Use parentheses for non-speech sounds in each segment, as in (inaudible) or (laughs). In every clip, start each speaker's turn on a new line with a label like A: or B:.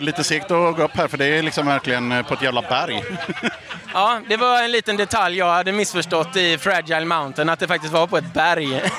A: Lite segt att gå upp här för det är liksom verkligen på ett jävla berg.
B: Ja, det var en liten detalj jag hade missförstått i Fragile Mountain, att det faktiskt var på ett berg. (laughs)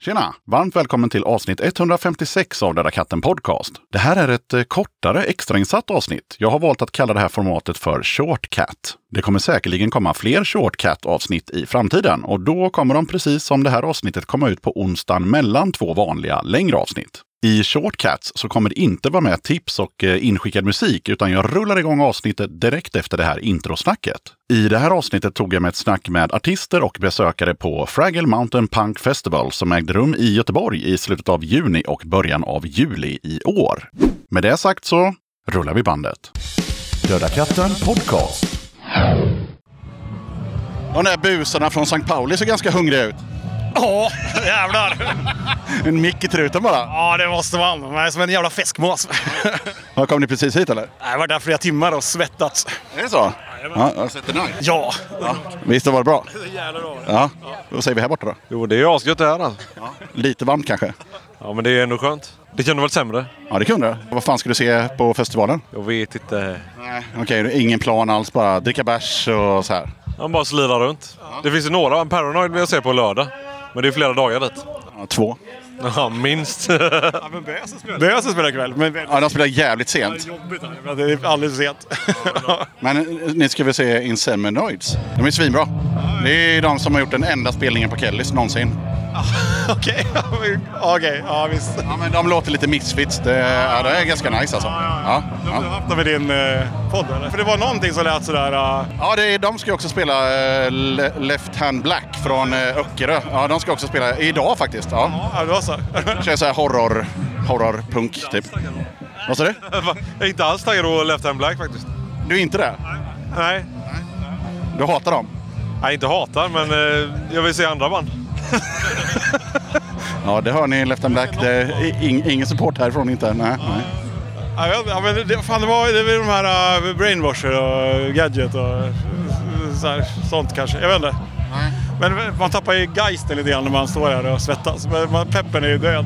A: Tjena! Varmt välkommen till avsnitt 156 av Döda katten podcast. Det här är ett eh, kortare extrainsatt avsnitt. Jag har valt att kalla det här formatet för shortcut. Det kommer säkerligen komma fler shortcut avsnitt i framtiden och då kommer de precis som det här avsnittet komma ut på onsdagen mellan två vanliga längre avsnitt. I Shortcuts så kommer det inte vara med tips och eh, inskickad musik, utan jag rullar igång avsnittet direkt efter det här introsnacket. I det här avsnittet tog jag med ett snack med artister och besökare på Fraggle Mountain Punk Festival som ägde rum i Göteborg i slutet av juni och början av juli i år. Med det sagt så rullar vi bandet. Döda katten Podcast. De där busarna från St. Pauli ser ganska hungriga ut.
C: Ja, jävlar.
A: En mick i truten bara.
C: Ja, det måste man. Man är som en jävla fäskmås.
A: Har kom ni precis hit eller?
C: Jag har varit där flera timmar och svettats.
A: Är det så? Ja, jag sätter den här.
C: Ja.
A: Visst det var bra? Ja, då säger vi här borta då.
D: Jo, det är asgött det här alltså.
A: Lite varmt kanske?
D: Ja, men det är ändå skönt. Det kunde varit sämre.
A: Ja, det kunde det. Vad fan ska du se på festivalen?
D: Jag vet inte.
A: Nej. Okej, det är ingen plan alls. Bara dricka bärs och så här.
D: Han bara slirar runt. Det finns ju några. Paranoid vill jag se på lördag. Men det är flera dagar dit.
A: Ja, två.
D: Ja, minst. (laughs)
C: Bösen spelar ikväll, men det
A: Ja, de spelar jävligt sent.
C: är jobbigt. här. Men Det är alldeles för sent.
A: Men eh, ni ska väl se Inseminoids? De är svinbra. Det är de som har gjort den enda spelningen på Kellys någonsin.
C: (laughs) Okej, Ja, okej. Ja, visst.
A: Ja, men de låter lite misfits. Det, ja, det är ganska nice alltså. Ja,
C: Du har
A: ja.
C: haft dem i din eh, podd eller? För det var någonting som lät sådär... Uh,
A: ja det är, de ska ju också spela eh, Le- Left Hand Black från eh, Öckerö. Ja, de ska också spela idag faktiskt. Ja.
C: ja, det var så.
A: Kör så här horror, horrorpunk typ. Vad sa du?
D: jag är inte alls taggad på Left Hand Black faktiskt.
A: Du är inte det?
D: Nej.
A: Du hatar dem?
D: Jag inte hatar, men eh, jag vill se andra band.
A: Ja, det hör ni. Left and Black. Det är ing, ingen support härifrån inte. Nej, nej.
C: Ja, jag vet inte. ja, men det, fan, det var det var ju de här uh, Brainwasher och Gadget och eh, så här, sånt kanske. Jag vet inte. Men man tappar ju geisten lite grann när man står här och svettas. Men man, peppen är ju död.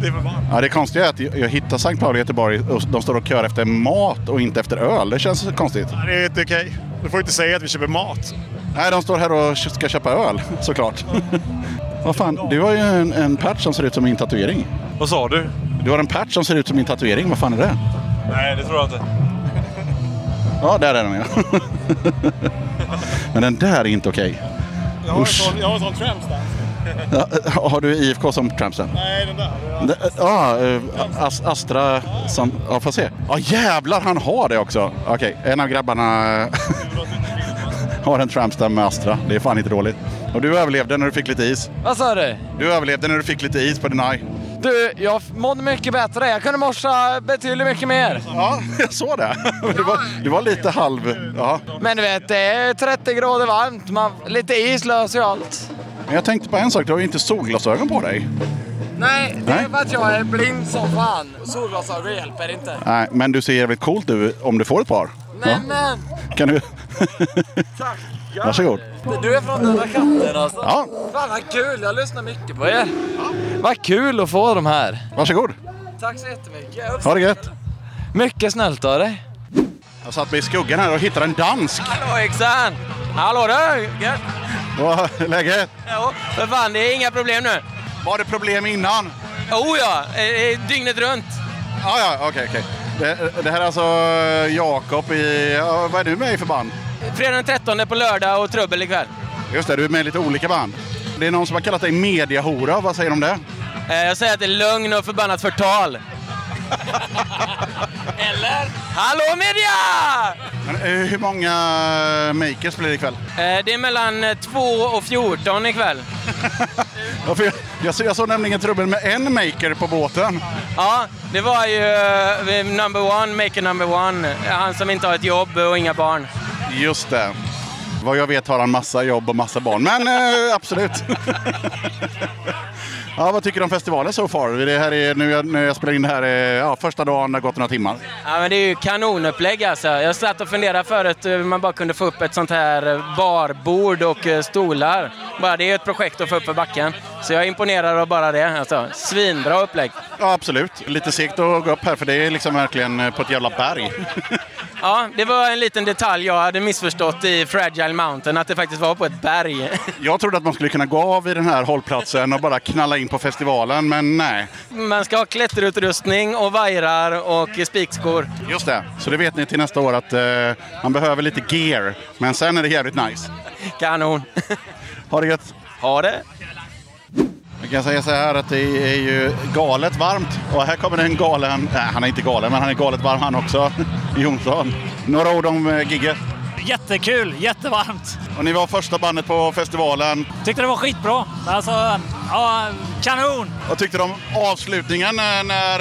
C: det är för varmt.
A: Ja, det konstiga är att jag jag hittar Sankt Pauli i Göteborg och de står och kör efter mat och inte efter öl. Det känns så konstigt.
C: Ja, Det är inte okej. Du får inte säga att vi köper mat.
A: Nej, de står här och ska köpa öl såklart. (laughs) Vad fan, du har ju en, en patch som ser ut som min tatuering.
D: Vad sa du?
A: Du har en patch som ser ut som min tatuering. Vad fan är det?
D: Nej, det tror jag inte.
A: Ja, där är den ja. (laughs) Men den där är inte okej.
C: Jag har en
A: Usch.
C: sån, jag har en sån tramp där.
A: (laughs) Ja, eh, Har du IFK som trampsen?
C: Nej, den där.
A: Det- Ja, eh, As Astra som... Ja, får se. Ja, jävlar han har det också. Okej, en av grabbarna (laughs) har en trampstam med Astra. Det är fan inte dåligt. Och du överlevde när du fick lite is.
E: Vad sa du?
A: Du överlevde när du fick lite is på Denai.
E: Du, jag mådde mycket bättre. Jag kunde morsa betydligt mycket mer.
A: Ja, (laughs) jag såg det. (laughs) Du var, du var lite halv... Ja.
E: Men du vet, det är 30 grader varmt. Man, lite is löser ju allt.
A: Men jag tänkte på en sak. Du har ju inte solglasögon på dig.
E: Nej, det
A: Nej.
E: är för att jag är blind som fan. Solglasögon hjälper inte.
A: Nej, men du ser jävligt coolt ut om du får ett par.
E: Nej men!
A: Ja. Kan du... (laughs) Varsågod.
E: Du är från Döda katten alltså.
A: Ja,
E: Fan vad kul, jag lyssnar mycket på er. Vad kul att få de här.
A: varsågod.
E: Tack så jättemycket.
A: Ha det gött.
E: Mycket snällt av dig.
A: Jag satt mig i skuggan här och hittade en dansk.
B: Hallå yxan! Hallå du! Gött.
A: Vad läget?
B: Jo, för fan, det är inga problem nu.
A: Var det problem innan?
B: Oh ja, eh, eh, dygnet runt.
A: Ah, ja, okej, okej. Det, det här är alltså Jakob i... ja, Vad är du med i för band?
B: Fredag den 13 på lördag och trubbel ikväll.
A: Just det, du är med i lite olika band. Det är någon som har kallat dig mediahora. Vad säger du om det?
B: Eh, jag säger att det är lögn och
A: (laughs)
B: förbannat förtal. Eller? Hallå media!
A: Men, eh, hur många makers blir det ikväll?
B: Eh, det är mellan eh, 2 och 14 ikväll.
A: Ja, för jag, jag, så- jag såg nämligen trubbel med en maker på båten.
B: Ja, det var ju eh, number one, maker number one. Han som inte har ett jobb och inga barn.
A: Just det. Vad jag vet har han massa jobb och massa barn. Men eh, absolut. Ja, vad tycker du om festivalen so far? Det här är, nu, jag, nu jag spelar in det här, eh, ja, första dagen, det har gått några timmar.
B: Ja, men det är ju kanonupplägg alltså. Jag satt och funderade förut hur man bara kunde få upp ett sånt här eh, barbord och eh, stolar. Bara det är ett projekt att få upp för backen. Så jag är imponerad av bara det. Alltså, svinbra upplägg.
A: Ja, absolut. Lite segt att gå upp här, för det är liksom verkligen eh, på ett jävla berg.
B: Ja, det var en liten detalj jag hade missförstått i Fragile Mountain, att det faktiskt var på ett berg. (laughs)
A: jag trodde att man skulle kunna gå av i den här hållplatsen och bara knalla in på festivalen, men nej.
B: Man ska ha klätterutrustning och vajrar och spikskor.
A: Just det. Så det vet ni till nästa år att eh, man behöver lite gear, men sen är det jävligt nice.
B: Kanon.
A: Ha det gött!
B: Ha det!
A: Jag kan säga så här att det är ju galet varmt och här kommer en galen, nej han är inte galen men han är galet varm han också, (laughs) Jonsson. Några ord om eh, gigget.
F: Jättekul, jättevarmt.
A: Och ni var första bandet på festivalen.
F: Tyckte det var skitbra. Alltså, ja, kanon.
A: Vad tyckte du om avslutningen när, när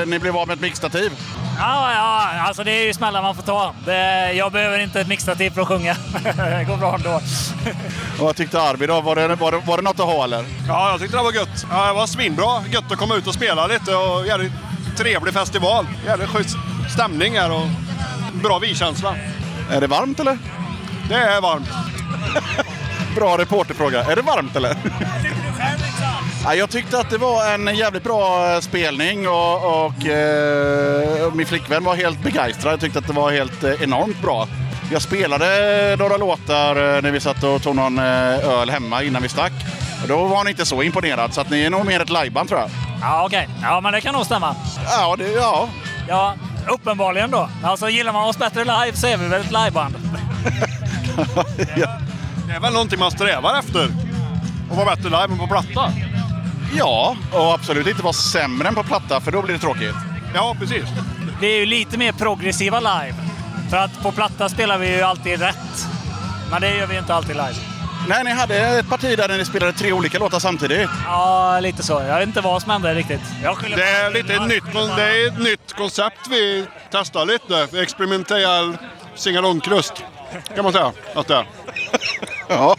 A: eh, ni blev av med ett mixtativ?
F: Ja, ja, alltså det är ju smällar man får ta. Det, jag behöver inte ett mixtativ för att sjunga. (laughs) det går bra ändå. (laughs)
A: Och vad tyckte Arvid då? Var det, var, det, var det något att ha eller?
C: Ja, jag tyckte det var gött. Ja, det var svinbra. Gött att komma ut och spela lite och jävligt trevlig festival. Jävligt schysst stämning här och bra vi-känsla.
A: Är det varmt eller?
C: Det är varmt.
A: Bra reporterfråga. Är det varmt eller? Ja, jag tyckte att det var en jävligt bra eh, spelning och, och eh, min flickvän var helt begeistrad. Jag tyckte att det var helt eh, enormt bra. Jag spelade några låtar eh, när vi satt och tog någon eh, öl hemma innan vi stack. Och Då var hon inte så imponerad, så att ni är nog mer ett lajban tror jag.
F: Ja, okej. Ja, men det kan nog stämma.
A: Ja, det, ja.
F: Ja, uppenbarligen då. Alltså, gillar man oss bättre live så är vi väl ett liveband.
A: ja.
C: Det är väl någonting man strävar efter. Att vara bättre live än på platta.
A: Ja, och absolut inte vara sämre än på platta, för då blir det tråkigt.
C: Ja, precis.
F: Vi är ju lite mer progressiva live. För att på platta spelar vi ju alltid rätt. Men det gör vi ju inte alltid live.
A: Nej, ni hade ett parti där ni spelade tre olika låtar samtidigt.
F: Ja, lite så. Jag vet inte vad som hände riktigt. Jag skyller
C: Det är
F: på-
C: lite
F: jag
C: ett nytt,
F: skyller på-
C: det är ett nytt koncept vi testar lite. Experimentell singalongkrust kan man säga att det är.
A: (laughs) Ja.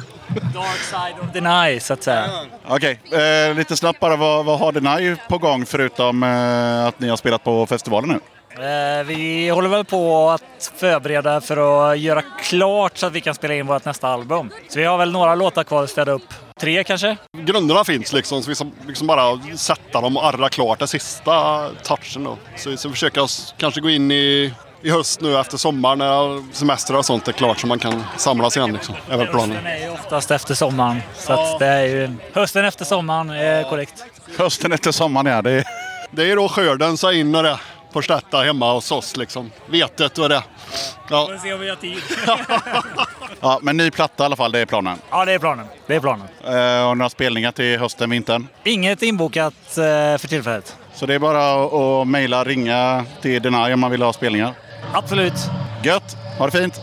F: Dark side of the night, så att säga.
A: Okej, eh, lite snabbt bara. Vad, vad har Denai på gång förutom eh, att ni har spelat på festivalen nu?
F: Eh, Vi håller väl på att förbereda för att göra klart så att vi kan spela in vårt nästa album. Så vi har väl några låtar kvar att städa upp. Tre kanske?
C: Grunderna finns liksom, så vi som- liksom bara sätta dem och arra klart den sista touchen då. Så, så försöker jag s- kanske gå in i, i höst nu efter sommaren när semester och sånt är klart så man kan samlas igen liksom. Är väl planen.
F: Hösten är ju oftast efter sommaren. Så att det är ju... Hösten efter sommaren är korrekt.
A: Hösten efter sommaren, ja. Det är... (laughs)
C: Det är ju då skörden så in och det. Porstätta hemma hos oss liksom. Vetet och det. Ja.
F: Får se om vi har tid.
A: ja, men ny platta i alla fall, det är planen.
F: (laughs) ja, det är planen. Det är planen.
A: Eh, och några spelningar till hösten, vintern.
F: Inget inbokat eh, för tillfället.
A: Så det är bara att- att mejla, ringa till Denai om man vill ha spelningar.
F: Absolut.
A: Gött! Ha det fint!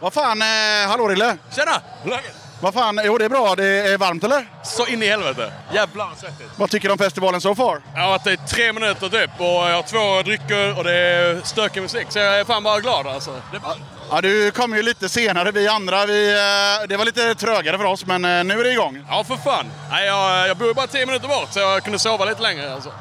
A: Vad fan, eh, hallå Rille!
G: Tjena! Läget?
A: Vad fan, jo det är bra. Det är varmt eller?
G: Så in i helvete. Jävlar vad svettigt.
A: Vad tycker du om festivalen so far?
G: Jag har varit där i tre minuter typ och jag har två drycker och det är stökig musik. Så jag är fan bara glad alltså. Det är bara...
A: Ja, du kom ju lite senare, vi andra. Vi, eh, det var lite trögare för oss, men eh, nu är det igång.
G: Ja för fan. Nej, jag, jag bor ju bara tio minuter bort så jag kunde sova lite längre alltså.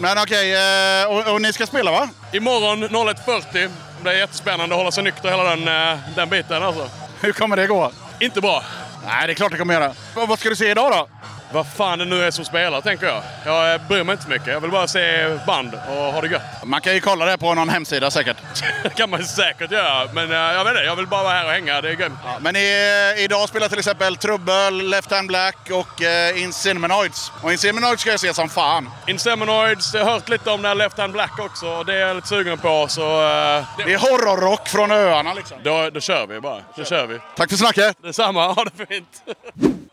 A: Men okej, eh, och, och ni ska spela va? (laughs)
G: Imorgon 01.40. Det blir jättespännande att hålla sig nykter hela den, eh, den biten alltså.
A: Hur kommer det gå?
G: Inte bra.
A: Nej, det är klart det kommer göra. Och vad ska du se idag då?
G: Vad fan det nu är som spelar tänker jag. Jag eh, bryr mig inte så mycket. Jag vill bara se band (laughs) och ha det gött.
A: Man kan ju kolla det på någon hemsida (laughs) säkert.
G: Det kan man säkert göra men eh, jag vet inte. Jag vill bara vara här och hänga. Det är grymt.
A: Ja, men i, eh, idag spelar till exempel Trubbel, Left Hand Black och eh, Insinuanoids. Och Insinuanoids ska jag se som fan.
G: Inseminoids, jag har hört lite om den här Left Hand Black också och det är jag lite sugen på så... eh, det-
A: Det är horrorrock från öarna liksom.
G: Då, då kör vi bara. Då kör vi.
A: Tack för snacket!
G: Detsamma, (laughs) ha det fint!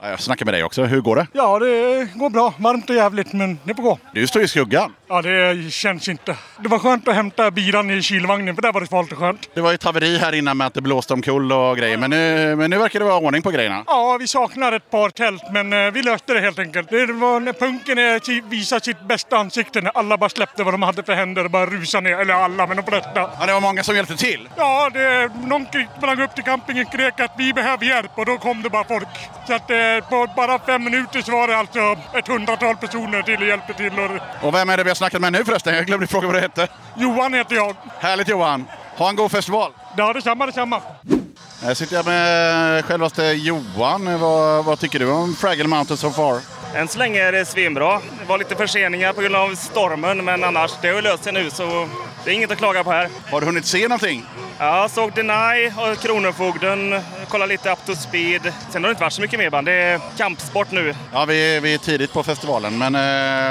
A: Ja, jag snackar med dig också. Hur går det?
H: Ja, det går bra. Varmt och jävligt, men det får gå.
A: Du står i skuggan.
H: Ja, det känns inte. Det var skönt att hämta biran i kylvagnen, för där var det svalt och skönt.
A: Det var ju ett haveri här innan med att det blåste omkull och grejer. Men nu, men nu verkar det vara ordning på grejerna.
H: Ja, vi saknar ett par tält, men eh, vi löste det helt enkelt. Det var när punken eh, ti- visade sitt bästa ansikte, när alla bara släppte vad de hade för händer och bara rusade ner. Eller alla, men de flesta.
A: Ja, det var många som hjälpte till.
H: Ja, det, någon sprang upp till campingen och skrek att vi behöver hjälp och då kom det bara folk. Så att eh, eh, på bara fem minuter så var det alltså ett hundratal personer till och hjälpte till. Och
A: Och vem är det vi har snackat med nu förresten? Jag glömde fråga vad det hette.
H: Johan heter jag.
A: Härligt Johan! Ha en god festival!
H: Ja, detsamma, detsamma.
A: Här sitter jag med självaste Johan. Vad, vad tycker du om Fraggle Mountain so far?
I: Än så länge är det svinbra. Det var lite förseningar på grund av stormen, men annars, det har ju löst sig nu så det är inget att klaga på här.
A: Har du hunnit se någonting?
I: Ja, såg Deny och Kronofogden, kolla lite up to speed. Sen har det inte varit så mycket mer band. Det är kampsport nu.
A: Ja, vi, vi är tidigt på festivalen, men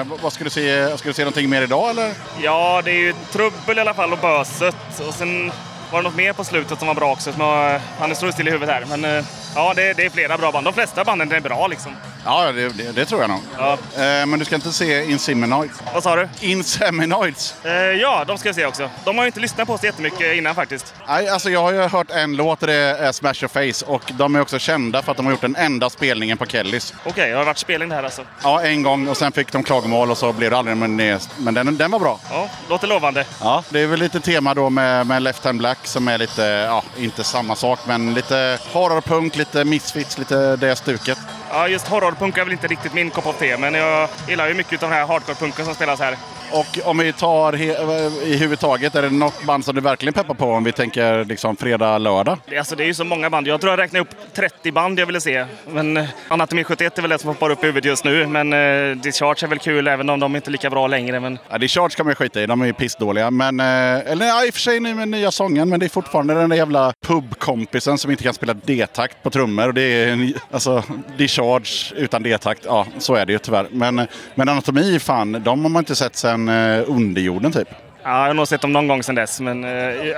A: eh, vad- vad ska du se? Ska du se någonting mer idag eller?
I: Ja, det är ju trubbel i alla fall och böset. Och sen var det något mer på slutet som var bra också. Som jag, han står still i huvudet här. Men eh, ja, det, det är flera bra band. De flesta banden är bra liksom.
A: Ja, det, det, det tror jag nog. Eh, men du ska inte se Inseminoids?
I: Vad sa du?
A: Inseminoids?
I: Eh, ja, de ska jag se också. De har ju inte lyssnat på oss jättemycket innan faktiskt.
A: Nej, alltså jag har ju hört en låt och det är Smash Your Face och de är också kända för att de har gjort den enda spelningen på Kellys.
I: Okej, det har varit spelning det här alltså.
A: Ja, en gång och sen fick de klagomål och så blev det aldrig någon mer. Men den, den var bra.
I: Ja, låter lovande.
A: Ja, det är väl lite tema då med, med Left Hand Black som är lite, ja, inte samma sak, men lite horrorpunk, lite misfits, lite det stuket.
I: Ja, just horrorpunk är väl inte riktigt min kopp av te, men jag gillar ju mycket av den här hardcore-punken som spelas här.
A: Och om vi tar he- i huvud taget, är det något band som du verkligen peppar på om vi tänker liksom fredag, lördag?
I: Det, alltså, det är ju så många band. Jag tror jag räknade upp 30 band jag ville se. Men eh, Anatomi 71 är väl det som hoppar upp i huvudet just nu. Men eh, Discharge är väl kul även om de inte är lika bra längre. Men
A: Ja, det är Charge kan man ju skita i, de är ju pissdåliga. Men, eh, eller ja, i och för sig nu med nya sången, men det är fortfarande den där jävla pubkompisen som inte kan spela D-takt på trummor. Och det är en, alltså, det är Charge utan D-takt. Ja, så är det ju tyvärr. Men, men Anatomi, fan, de har man inte sett sedan eh, underjorden typ.
I: ja, jag har nog sett dem någon gång sedan dess. Men, eh,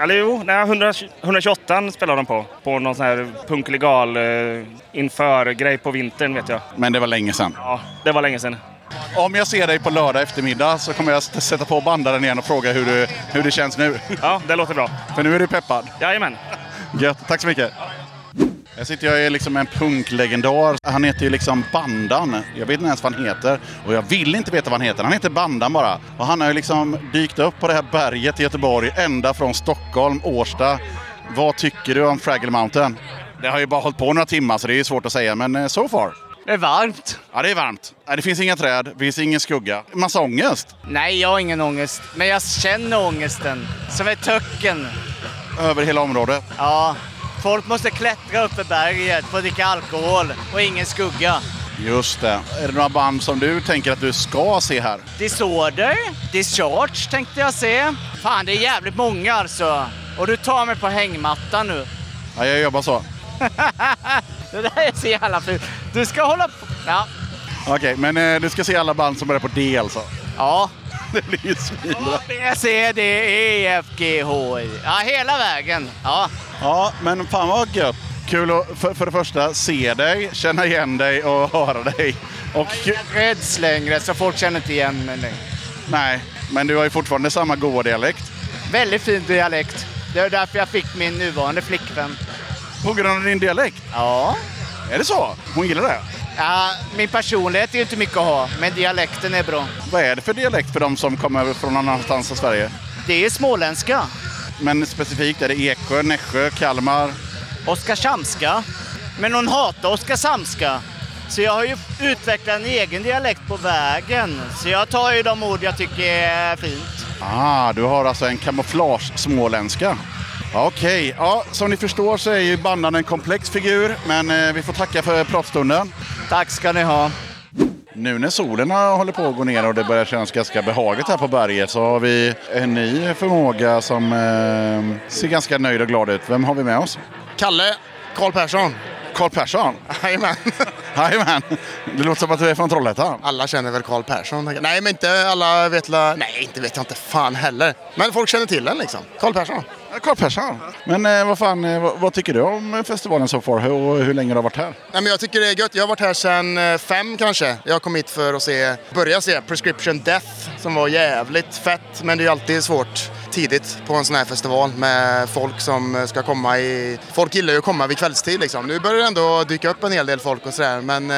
I: eller jo, nej, 100, 128 spelar de på. På någon sån här punklegal eh, inför-grej på vintern vet jag.
A: Men det var länge sedan.
I: Ja, det var länge sedan.
A: Om jag ser dig på lördag eftermiddag så kommer jag s- sätta på bandaren igen och fråga hur, du, Eh, hur det känns nu.
I: Ja, det låter bra.
A: (laughs) För nu är du peppad.
I: Jajamän.
A: Gött, tack så mycket. Jag sitter jag är liksom en punklegendar. Han heter ju liksom Bandan. Jag vet inte ens vad han heter. Och jag vill inte veta vad han heter. Han heter Bandan bara. Och han har ju liksom dykt upp på det här berget i Göteborg ända från Stockholm, Årsta. Vad tycker du om Fraggle Mountain? Det har ju bara hållit på några timmar så det är ju svårt att säga, men eh, so far.
J: Det är varmt.
A: Ja, det är varmt. Nej, Det finns inga träd, det finns ingen skugga. Massa ångest.
J: Nej, jag har ingen ångest. Men jag känner ångesten. Som ett töcken.
A: Över hela området.
J: Ja, folk måste klättra upp för berget för att dricka alkohol och ingen skugga.
A: Just det. Är det några band som du tänker att du ska se här?
J: Disorder, Discharge tänkte jag se. Fan, det är jävligt många alltså. Och du tar mig på hängmattan nu.
A: Ja, jag jobbar så.
J: det där är så jävla fult. Du ska hålla på... Ja,
A: Okej, men eh, du ska se alla band som börjar på D alltså?
J: Ja.
A: Det blir ju svinbra.
J: B, C, D, E, F, G, H, I. Ja, hela vägen. Ja.
A: Ja, men fan vad gött. Kul att för, för det första se dig, känna igen dig och (laughs) höra dig. Och jag är
J: rädds längre, så folk känner inte igen mig längre.
A: Nej, men du har ju fortfarande samma goa dialekt.
J: Väldigt fin dialekt. Det är därför jag fick min nuvarande flickvän.
A: På grund av din dialekt?
J: Ja.
A: Är det så? Hon gillar det?
J: Ja, min personlighet är ju inte mycket att ha, men dialekten är bra.
A: Vad är det för dialekt för de som kommer från någon annanstans i Sverige?
J: Det är småländska.
A: Men specifikt, är det Eksjö, Nässjö, Kalmar?
J: Oskarshamnska. Men hon hatar oskarshamnska. Så jag har ju utvecklat en egen dialekt på vägen. Så jag tar ju de ord jag tycker är fint.
A: Ah, du har alltså en kamouflage småländska. Okej, ja, som ni förstår så är ju bandan en komplex figur, men eh, vi får tacka för pratstunden.
J: Tack ska ni ha.
A: Nu när solen har- håller på att gå ner och det börjar kännas ganska behagligt här på berget så har vi en ny förmåga som eh, ser ganska nöjd och glad ut. Vem har vi med oss?
K: Kalle Karl Persson.
A: Karl Persson?
K: Jajamän.
A: (laughs) Jajamän. Det låter som att du är från Trollhättan.
K: Alla känner väl Karl Persson? tänker jag. Nej, men inte alla vet la... Nej, inte vet jag inte fan heller. Men folk känner till en liksom. Karl Persson.
A: Karl Persson? Men eh, vad fan, eh, vad, vad tycker du om eh, festivalen så far? Hur, hur länge har du varit här?
K: Nej, men jag tycker det är gött. Jag har varit här sedan eh, fem kanske. Jag kom hit för att se, börja se Prescription Death som var jävligt fett. Men det är ju alltid svårt tidigt på en sån här festival med folk som eh, ska komma i... Folk gillar ju att komma vid kvällstid liksom. Nu börjar det ändå dyka upp en hel del folk och sådär. Men eh,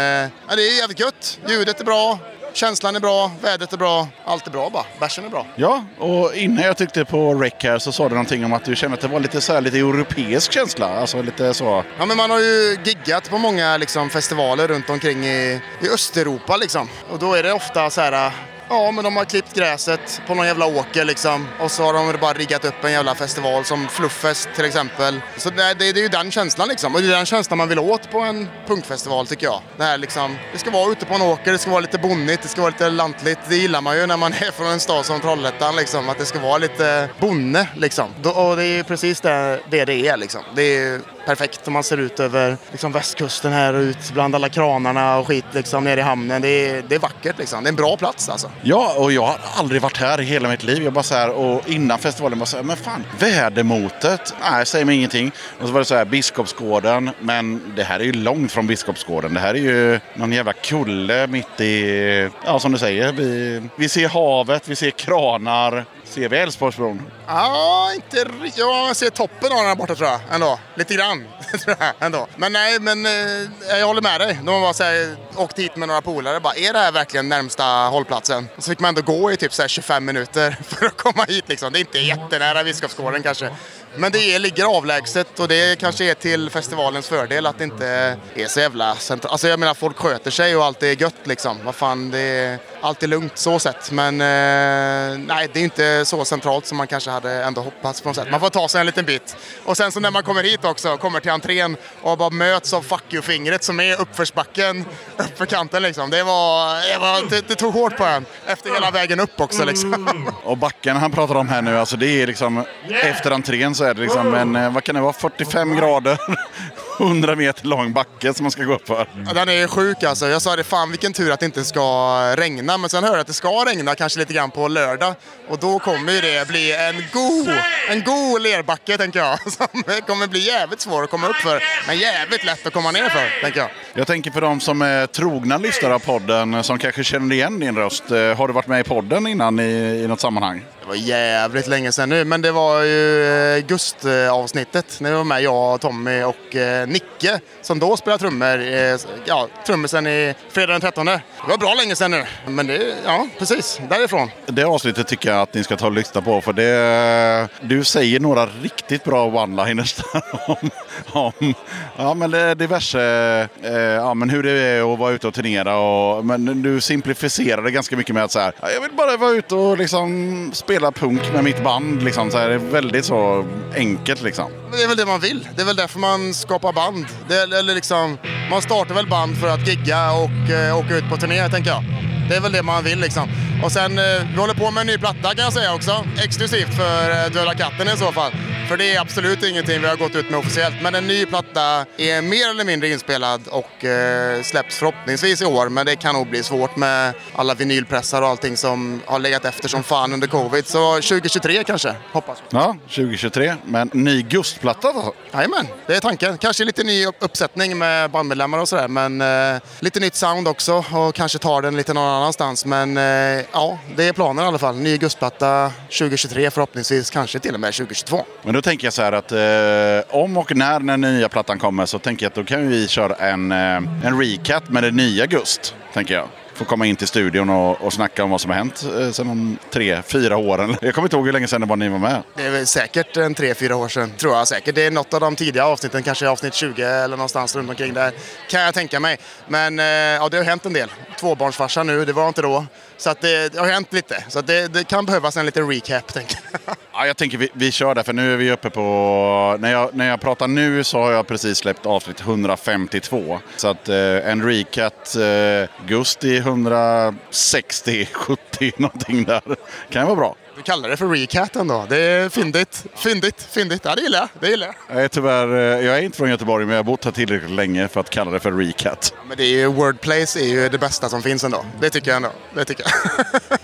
K: ja, det är jävligt gött. Ljudet är bra. känslan är bra, vädret är bra, allt är bra bara. Bärsen är bra.
A: Ja, och innan jag tyckte på Rec här så sa du någonting om att du kände att det var lite så här, lite europeisk känsla. Alltså lite så...
K: Ja, men man har ju giggat på många liksom, festivaler runt omkring i, i Östeuropa. Liksom. Och då är det ofta så här, ja men de har klippt gräset på någon jävla åker liksom. Och så har de bara riggat upp en jävla festival som Flufffest till exempel. Så det, det, det är ju den känslan liksom. Och det är den känslan man vill åt på en punkfestival tycker jag. Det, här, liksom, det ska vara ute på en åker, det ska vara lite bonnigt, det ska vara lite lantligt. Det gillar man ju när man (laughs) är från en stad som Trollhättan liksom. Att det ska vara lite bonne liksom. Då- Och det är ju precis det det, det är liksom. Det är ju perfekt om man ser ut över liksom, västkusten här och ut bland alla kranarna och skit liksom nere i hamnen. Det är, det är vackert liksom. Det är en bra plats alltså.
A: Ja, och jag har aldrig varit här i hela mitt liv. Jag bara så här, och innan festivalen var så här, men fan, vädermotet? Nej, säger mig ingenting. Och så var det så här, Biskopsgården, men det här är ju långt från Biskopsgården. Det här är ju någon jävla kulle mitt i, ja som du säger, vi, vi ser havet, vi ser kranar. Ser vi Älvsborgsbron?
K: Ja, inte ri- Jag ser toppen av den här borta tror jag ändå. Lite grann (laughs) tror jag ändå. Men nej, men eh, jag håller med dig. De var så här, åkte hit med några polare bara, är det här verkligen närmsta hållplatsen? Och så fick man ändå gå i typ så här 25 minuter (laughs) för att komma hit liksom. Det är inte jättenära Biskopsgården kanske. Men det är, ligger avlägset och det kanske är till festivalens fördel att det inte är så jävla centralt. Alltså jag menar folk sköter sig och allt är gött liksom. Vad fan, det är, allt är lugnt så sett. Men eh, nej, det är inte så centralt som man kanske hade ändå hoppats på något sätt. Man får ta sig en liten bit. Och sen så när man kommer hit också, kommer till entrén och bara möts av fuck you-fingret som är uppförsbacken, (laughs) uppför kanten liksom. Det var, det, var, det, det tog hårt på en. Efter hela vägen upp också liksom.
A: Och backen han pratar om här nu, alltså det är liksom efter entrén så är det liksom en, eh, vad kan det vara, 45 grader, (laughs) 100 meter lång backe som man ska gå upp för.
K: Ja, Den är ju sjuk alltså. Jag sa det, fan vilken tur att det inte ska regna. Men sen hörde jag att det ska regna kanske lite grann på lördag. Och då kommer ju det bli en god, en god lerbacke tänker jag. (laughs) Som kommer bli jävligt svår att komma upp för. Men jävligt lätt att komma ner för, tänker jag.
A: Jag tänker för de som är trogna lyssnare av podden, eh, som kanske känner igen din röst. eh, Har du varit med i podden innan i, i något sammanhang?
K: Det var jävligt länge sedan nu, men det var ju eh, Gust-avsnittet. När vi var med jag, Tommy och eh, Nicke som då spelade trummor. eh, Ja, trummisen i Fredag den 13. Det var bra länge sedan nu. Men det, ja, precis. Därifrån.
A: Det avsnittet tycker jag att ni ska ta och lyssna på för det, du säger några riktigt bra one-liners där (laughs) om, om ja, men det, diverse, eh, ja, men hur det är att vara ute och turnera. Och, men du simplifierar det ganska mycket med att så här, "Ja, jag vill bara vara ute och liksom spela punk med mitt band. Liksom, så här, det är väldigt så enkelt liksom.
K: Men det är väl det man vill. Det är väl därför man skapar band. Det, eller liksom, man startar väl band för att gigga och eh, åka ut på turné, tänker jag. Det är väl det man vill liksom. Och sen, eh, vi håller på med en ny platta kan jag säga också. Exklusivt för eh, Döda katten i så fall. För det är absolut ingenting vi har gått ut med officiellt. Men en ny platta är mer eller mindre inspelad och eh, släpps förhoppningsvis i år. Men det kan nog bli svårt med alla vinylpressar och allting som har legat efter som fan under covid. Så 2023 kanske, hoppas vi.
A: Ja, 2023. Men ny Gustplatta då?
K: Jajamän, det är tanken. Kanske lite ny upp- uppsättning med bandmedlemmar och sådär. Men eh, lite nytt sound också och kanske tar den lite någon annanstans. Men eh, ja, det är planen i alla fall. Ny Gustplatta 2023 förhoppningsvis, kanske till och med 2022.
A: Men då tänker jag så här att eh, om och när den nya plattan kommer så tänker jag att då kan vi köra en, eh, en recap med det nya Gust. Tänker jag. Få komma in till studion och, och snacka om vad som har hänt eh, sen om tre, fyra åren. (laughs) Jag kommer inte ihåg hur länge sedan det var ni var med.
K: Det är väl säkert en tre, fyra år sedan, tror jag säkert. Det är något av de tidiga avsnitten, kanske avsnitt 20 eller någonstans runt omkring där, kan jag tänka mig. Men eh, ja, det har hänt en del. Tvåbarnsfarsa nu, det var inte då. Så att det, det har hänt lite. Så att det, det kan behövas en liten recap, tänker jag.
A: Ja, jag tänker vi, vi kör där, för nu är vi uppe på... När jag, när jag pratar nu så har jag precis släppt avsnitt 152. Så att eh, en recat eh, Gusti 160, 70 någonting där. Kan vara bra.
K: Du kallar det för recat ändå. Det är fyndigt. Fyndigt, fyndigt. Ja, det gillar jag. Det gillar jag.
A: Jag är tyvärr, eh, jag är inte från Göteborg men jag har bott här tillräckligt länge för att kalla det för recat.
K: Men det är ju, wordplays är ju det bästa som finns ändå. Det tycker jag ändå. Det tycker jag.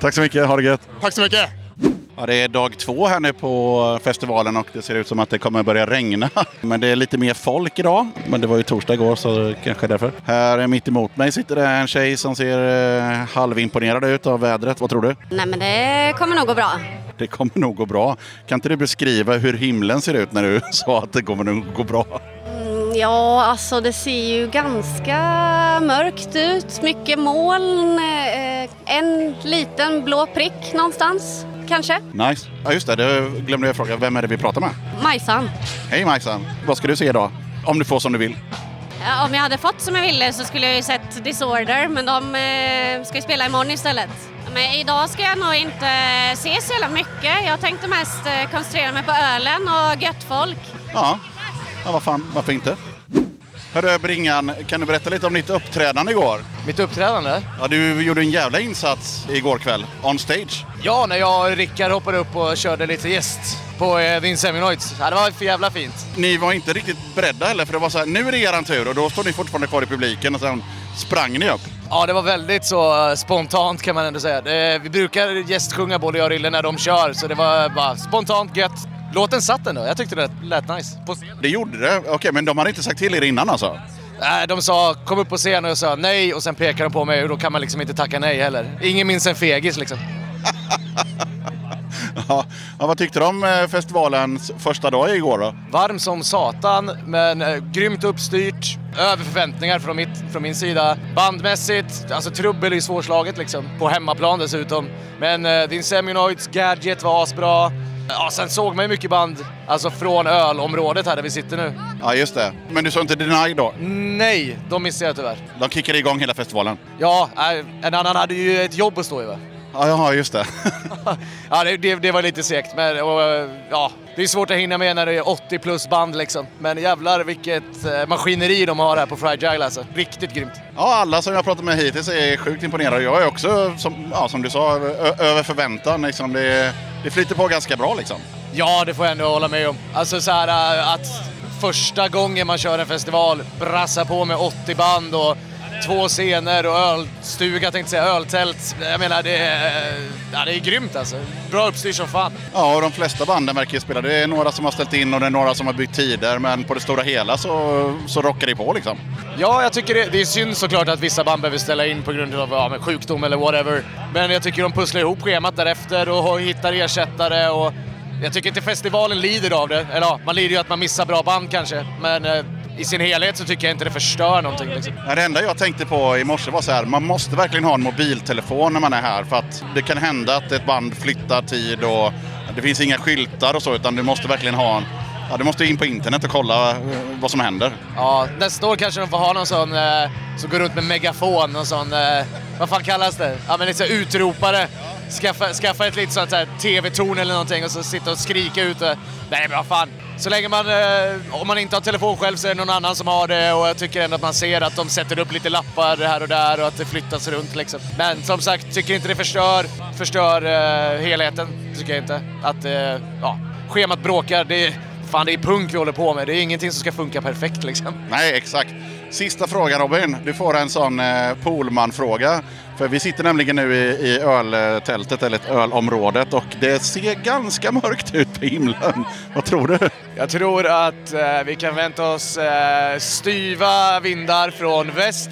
A: Tack så mycket, ha det gött!
K: Tack så mycket!
A: Ja, det är dag två här nu på festivalen och det ser ut som att det kommer börja regna. (laughs) Men det är lite mer folk idag. Men det var ju torsdag igår så kanske därför. Här mitt emot mig sitter det en tjej som ser eh, halvimponerad ut av vädret. Vad tror du?
L: Nej men det kommer nog gå bra.
A: Det kommer (laughs) nog gå bra. Kan inte du beskriva hur himlen ser ut när du sa att det kommer nog gå bra?
L: Mm, Ja, alltså det ser ju ganska mörkt ut. Mycket moln, eh, en liten blå prick någonstans, kanske.
A: Nice. Ja, just det. Det glömde jag fråga. Vem är det vi pratar med?
L: Majsan.
A: Hej Majsan! Vad ska du se idag? Om du får som du vill.
L: Ja, Om jag hade fått som jag ville så skulle jag ju sett Disorder, men de eh, ska ju spela imorgon istället. Men idag ska jag nog inte se så jävla mycket. Jag tänkte mest eh, koncentrera mig på ölen och gött folk.
A: Ja, ja vad fan, varför inte? Hörru Bringan, kan du berätta lite om ditt uppträdande igår?
M: Mitt uppträdande?
A: Ja, du gjorde en jävla insats igår kväll, on stage.
M: Ja, när jag och Rickard hoppade upp och körde lite gäst på eh, din Seminoids. Ja, det var för jävla fint.
A: Ni var inte riktigt beredda heller, för det var så här, nu är det eran tur och då står ni fortfarande kvar i publiken och sen sprang ni upp.
M: Ja, det var väldigt så eh, spontant kan man ändå säga. Det, vi brukar gästsjunga både jag och Rille när de kör, så det var bara spontant gött. Låten satt ändå. Jag tyckte det lät nice. På scen.
A: Det gjorde det? Okej, men de hade inte sagt till er innan alltså?
M: Nej, de sa kom upp på scen och jag sa nej och sen pekade de på mig och då kan man liksom inte tacka nej heller. Ingen minns en fegis liksom.
A: Ja, ja, vad tyckte du om eh, festivalens första dag igår då?
M: Varm som satan, men eh, grymt uppstyrt. Över förväntningar från, mitt, från min sida. Bandmässigt, alltså trubbel är ju svårslaget liksom. På hemmaplan dessutom. Men eh, din Seminoids Gadget var asbra. Ja, sen såg man ju mycket band, alltså från ölområdet här där vi sitter nu.
A: Ja, just det. Men du sa inte Deny då?
M: Nej, de missade jag tyvärr.
A: De kickade igång hela festivalen?
M: Ja, eh, en annan hade ju ett jobb att stå i va?
A: Ja, jaha, just det.
M: Ja, det, det, det var lite segt. Men, och, eh, ja, det är svårt att hinna med när det är 80 plus band liksom. Men jävlar vilket eh, maskineri de har här på Fragile alltså. Riktigt grymt.
A: Ja, alla som jag pratat med hittills är sjukt imponerade. Jag är också, som, ja, som du sa, ö- över förväntan. Liksom. Det, det flyter på ganska bra liksom.
M: Ja, det får jag ändå hålla med om. Alltså så här eh, att första gången man kör en festival brassar på med 80 band och två scener och ölstuga tänkte jag säga, öltält. Jag menar det, är- ja, det är grymt alltså. Bra uppstyrt som fan.
A: Ja, och de flesta banden verkar ju spela. Det är några som har ställt in och det är några som har bytt tider. Men på det stora hela så, så rockar det på liksom.
M: Ja, jag tycker det, det är synd såklart att vissa band behöver ställa in på grund av ja, men sjukdom eller whatever. Men jag tycker de pusslar ihop schemat därefter och har- hittar ersättare och jag tycker inte festivalen lider av det. Eller ja, man lider ju att man missar bra band kanske, men eh, i sin helhet så tycker jag inte det förstör någonting. Liksom.
A: Ja, Det enda jag tänkte på i morse var så här, man måste verkligen ha en mobiltelefon när man är här. För att det kan hända att ett band flyttar tid och det finns inga skyltar och så. Utan du måste verkligen ha en, ja, du måste in på internet och kolla eh, vad som händer.
M: Ja, nästa år kanske de får ha någon sån eh, som går runt med megafon, någon sån, eh, vad fan kallas det? Ja men lite så här utropare. Skaffa, skaffa ett litet sånt här TV-torn eller någonting och så sitta och skrika ut. eh, Nej men vad fan. Så länge man, eh, om man inte har telefon själv så är det någon annan som har det och jag tycker ändå att man ser att de sätter upp lite lappar här och där och att det flyttas runt liksom. Men som sagt, tycker inte det förstör, förstör eh, helheten. Tycker jag inte. Att, eh, ja, schemat bråkar. Det är, fan det är punk vi håller på med. Det är ingenting som ska funka perfekt liksom.
A: Nej, exakt. Sista frågan Robin. Du får en sån eh, Polman-fråga. För vi sitter nämligen nu i, i öltältet, eller ett ölområdet, och det ser ganska mörkt ut på himlen. Vad tror du?
M: Jag tror att eh, vi kan vänta oss eh, styva vindar från väst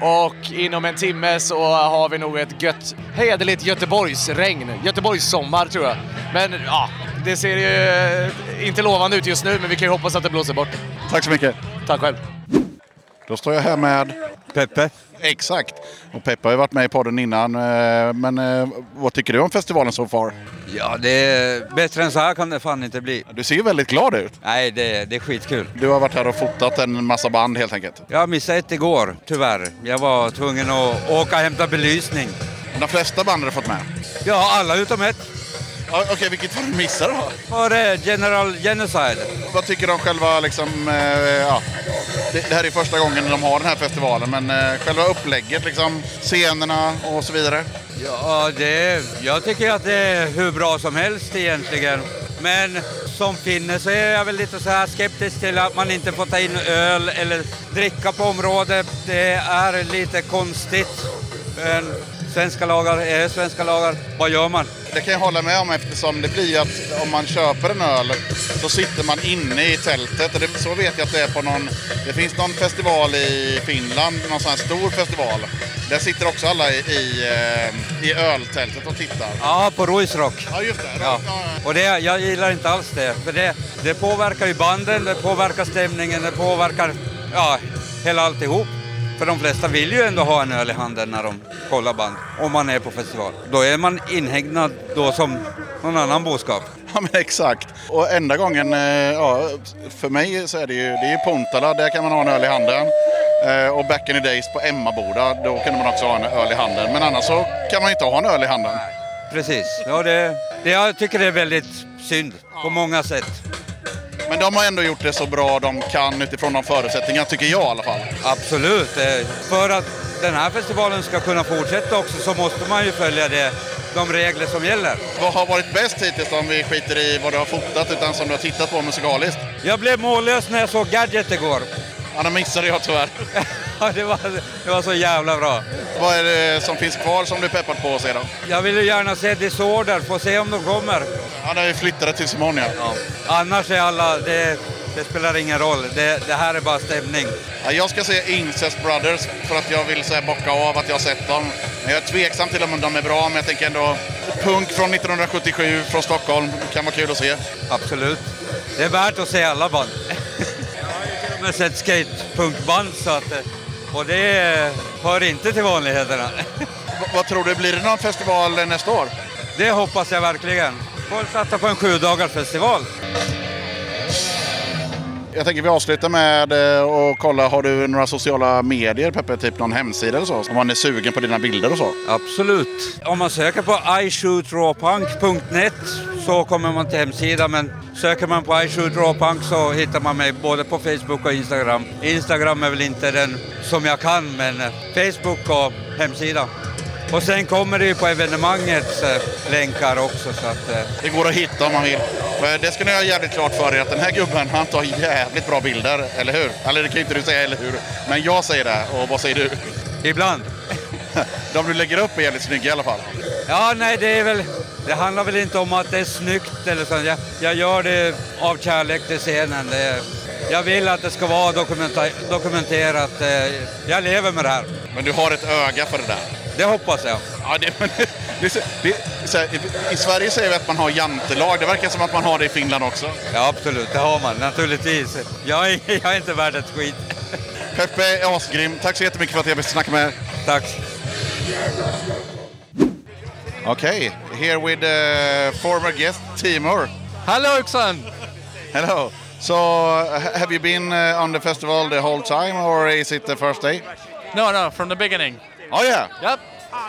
M: och inom en timme så har vi nog ett gött, hederligt Göteborgsregn. Göteborgs sommar tror jag. Men ja, det ser ju eh, inte lovande ut just nu, men vi kan ju hoppas att det blåser bort.
A: Tack så mycket.
M: Tack själv.
A: Då står jag här med... Peppe. Exakt. Och Peppe har ju varit med i podden innan. eh, Men eh, vad tycker du om festivalen so far?
N: Ja, det är, bättre än så här kan det fan inte bli.
A: Du ser ju väldigt glad ut.
N: Nej, det, det är skitkul.
A: Du har varit här och fotat en massa band helt enkelt.
N: Jag missade ett igår, tyvärr. Jag var tvungen att åka och hämta belysning.
A: De flesta band har fått med?
N: Ja, alla utom ett.
A: Okej, vilket var det du missade då?
N: Var det General Genocide?
A: Vad tycker du om själva liksom... eh, Ja, det, det här är första gången de har den här festivalen, men eh, själva upplägget liksom, scenerna och så vidare.
N: Ja, det, jag tycker att det är hur bra som helst egentligen. Men som finne så är jag väl lite så här skeptisk till att man inte får ta in öl eller dricka på området. Det är lite konstigt. Men svenska lagar är svenska lagar. Vad gör man?
A: Det kan jag hålla med om eftersom det blir ju att om man köper en öl så sitter man inne i tältet. Och det, så vet jag att det är på någon... Det finns någon festival i Finland, någon sån här stor festival. Där sitter också alla i, i, eh, i öltältet och tittar.
N: Ja, på Ruisrock.
A: Ja, just det.
N: Ja. Och det, jag gillar inte alls det, för det, det påverkar ju banden, det påverkar stämningen, det påverkar ja, hela alltihop. För de flesta vill ju ändå ha en öl i handen när de kollar band, om man är på festival. Då är man inhägnad då som någon annan boskap.
O: Ja, men exakt. Och enda gången, eh, ja, för mig så är det ju, det är ju Pontala, där kan man ha en öl i handen. Eh, Och back in the days på Emmaboda, då kunde man också ha en öl i handen. Men annars så kan man inte ha en öl i handen.
N: Precis. Ja, det, det, jag tycker det är väldigt synd på många sätt.
O: Men de har ändå gjort det så bra de kan utifrån de förutsättningarna, tycker jag i alla fall.
N: Absolut. eh, För att den här festivalen ska kunna fortsätta också så måste man ju följa det, de regler som gäller.
A: Vad har varit bäst hittills om vi skiter i vad du har fotat
O: typ
A: utan som du har tittat på musikaliskt?
N: Jag blev mållös när jag såg Gadget igår.
A: Ja, den missade jag tyvärr.
N: (laughs) Ja, det var, det var så jävla bra.
A: Vad är det som finns kvar som du är peppad på att se då?
N: Jag vill ju gärna se Disorder, får se om de kommer.
A: Ja, när vi flyttade till Simon, ja.
N: Annars är alla, det, det spelar ingen roll. Det, det här är bara stämning.
A: Ja, jag ska se Incest Brothers för att jag vill så här, bocka av att jag har sett dem. Men jag är tveksam till om de är bra, men jag tänker ändå... Punk från 1977 från Stockholm kan vara kul att se.
N: Absolut. Det är värt att se
A: (laughs)
N: alla band. Jag har ju till och med sett skatepunkband så att, eh, och det eh, hör inte till vanligheterna.
A: vad tror du, blir det någon festival eh, nästa år?
N: Det hoppas jag verkligen. Folk satsar på en sju dagars festival.
O: Jag tänker vi avslutar med eh, att kolla, har du några sociala medier Peppe? Typ någon hemsida eller så? Om man är sugen på dina bilder och så?
N: Absolut. Om man söker på ishootraw.punk.net så kommer man till hemsidan men söker man på ishootraw.punk så hittar man mig både på Facebook och Instagram. Instagram är väl inte den som jag kan men eh, Facebook och hemsida. Och sen kommer det ju på evenemangets eh, länkar också så att... eh,
A: Det går att hitta om man vill. Eh, Det ska ni ha jävligt klart för er att den här gubben, han tar jävligt bra bilder, eller hur? Eller det kan ju inte du säga, eller hur? Men jag säger det, och vad säger du?
N: Ibland.
A: De du lägger upp är jävligt snygga i alla fall.
N: Ja, nej, det är väl... Det handlar väl inte om att det är snyggt eller så. Jag, jag gör det av kärlek till scenen. Det, jag vill att det ska vara dokumenta- dokumenterat. eh, Jag lever med det här.
A: Men du har ett öga för det där?
N: Det hoppas jag.
A: Ja, det, men, det, det, så här, I Sverige säger vi att man har jantelag. Det verkar som att man har det i Finland också.
N: Ja, absolut. Det har man naturligtvis. Jag är, (laughs) jag är inte värd ett skit.
A: Peppe är asgrym. Tack så jättemycket för att jag fick snacka med er.
N: Tack.
A: Okej, here with uh, former guest Timur.
P: Hello, Iksan.
A: Hello. So, ha- have you been uh, on the festival the whole time, or is it the first day?
Q: No, no, from the beginning.
A: Oh yeah.
Q: Yep.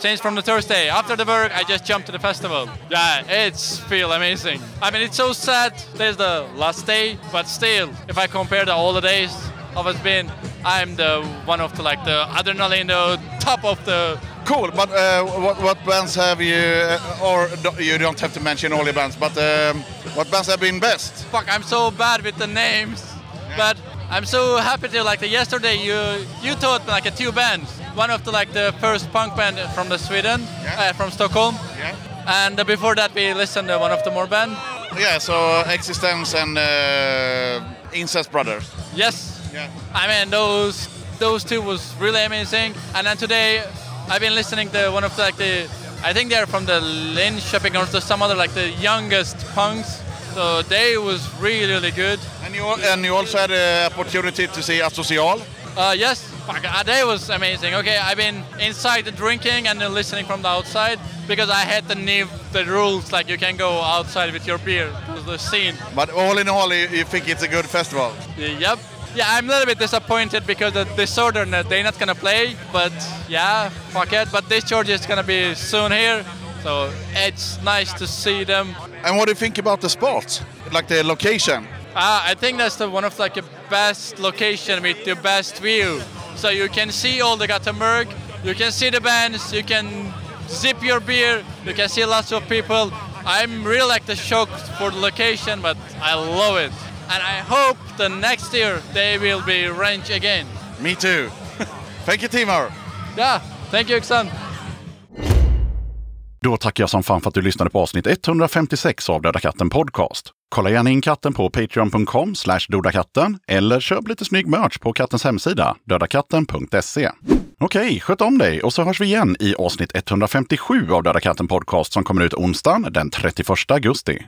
Q: Changed from the Thursday. After the work, I just jumped to the festival. Yeah, it's feel amazing. I mean, it's so sad. There's the last day, but still, if I compare the all the days of it's been, I'm the one of the like the adrenaline, the top of the.
A: Cool, but uh, what, what bands have you, uh, or do, you don't have to mention all your bands, but um, what bands have been best?
Q: Fuck, I'm so bad with the names, but I'm so happy to like the yesterday you you taught me like a two bands. One of the like the first punk band from the Sweden, uh, from Stockholm,
A: Yeah.
Q: and uh, before that we listened to one of the more band.
A: Yeah, so Existence and uh, Incest Brothers.
Q: Yes. I mean those those two was really amazing. And then today I've been listening to one of the, like the I think they're from the Linköping or to some other like the youngest punks. So they was really really good.
A: And you al- and you also had the opportunity to see Asocial.
Q: Uh, yes. Fuck, uh, that was amazing. Okay, I've been inside the drinking and then listening from the outside because I had the new the rules like you can go outside with your beer. to The scene.
A: But all in all, you, you think it's a good festival?
Q: Yep. Yeah, I'm a little bit disappointed because the disorder that they're not gonna play. But yeah, fuck it. But discharge is gonna be soon here, so it's nice to see them.
A: And what do you think about the spots, like the location?
Q: Ah, I think that's the one of like the best location with the best view. So you can see all the Gothenburg, you can see the bands, you can zip your beer, you can see lots of people. I'm really like the shocked for the location, but I love it. And I hope the next year they will be range again.
A: Me (laughs) too. Thank you, Timur.
Q: Yeah, thank you, Iksan.
A: Då tackar jag som fan för att du lyssnade på avsnitt 156 av Döda katten Podcast. Kolla gärna in katten på patreon.com slash dodakatten eller köp lite snygg merch på kattens hemsida, dödakatten.se. Okej, sköt om dig och så hörs vi igen i avsnitt 157 av Döda katten Podcast som kommer ut onsdagen den 31 augusti.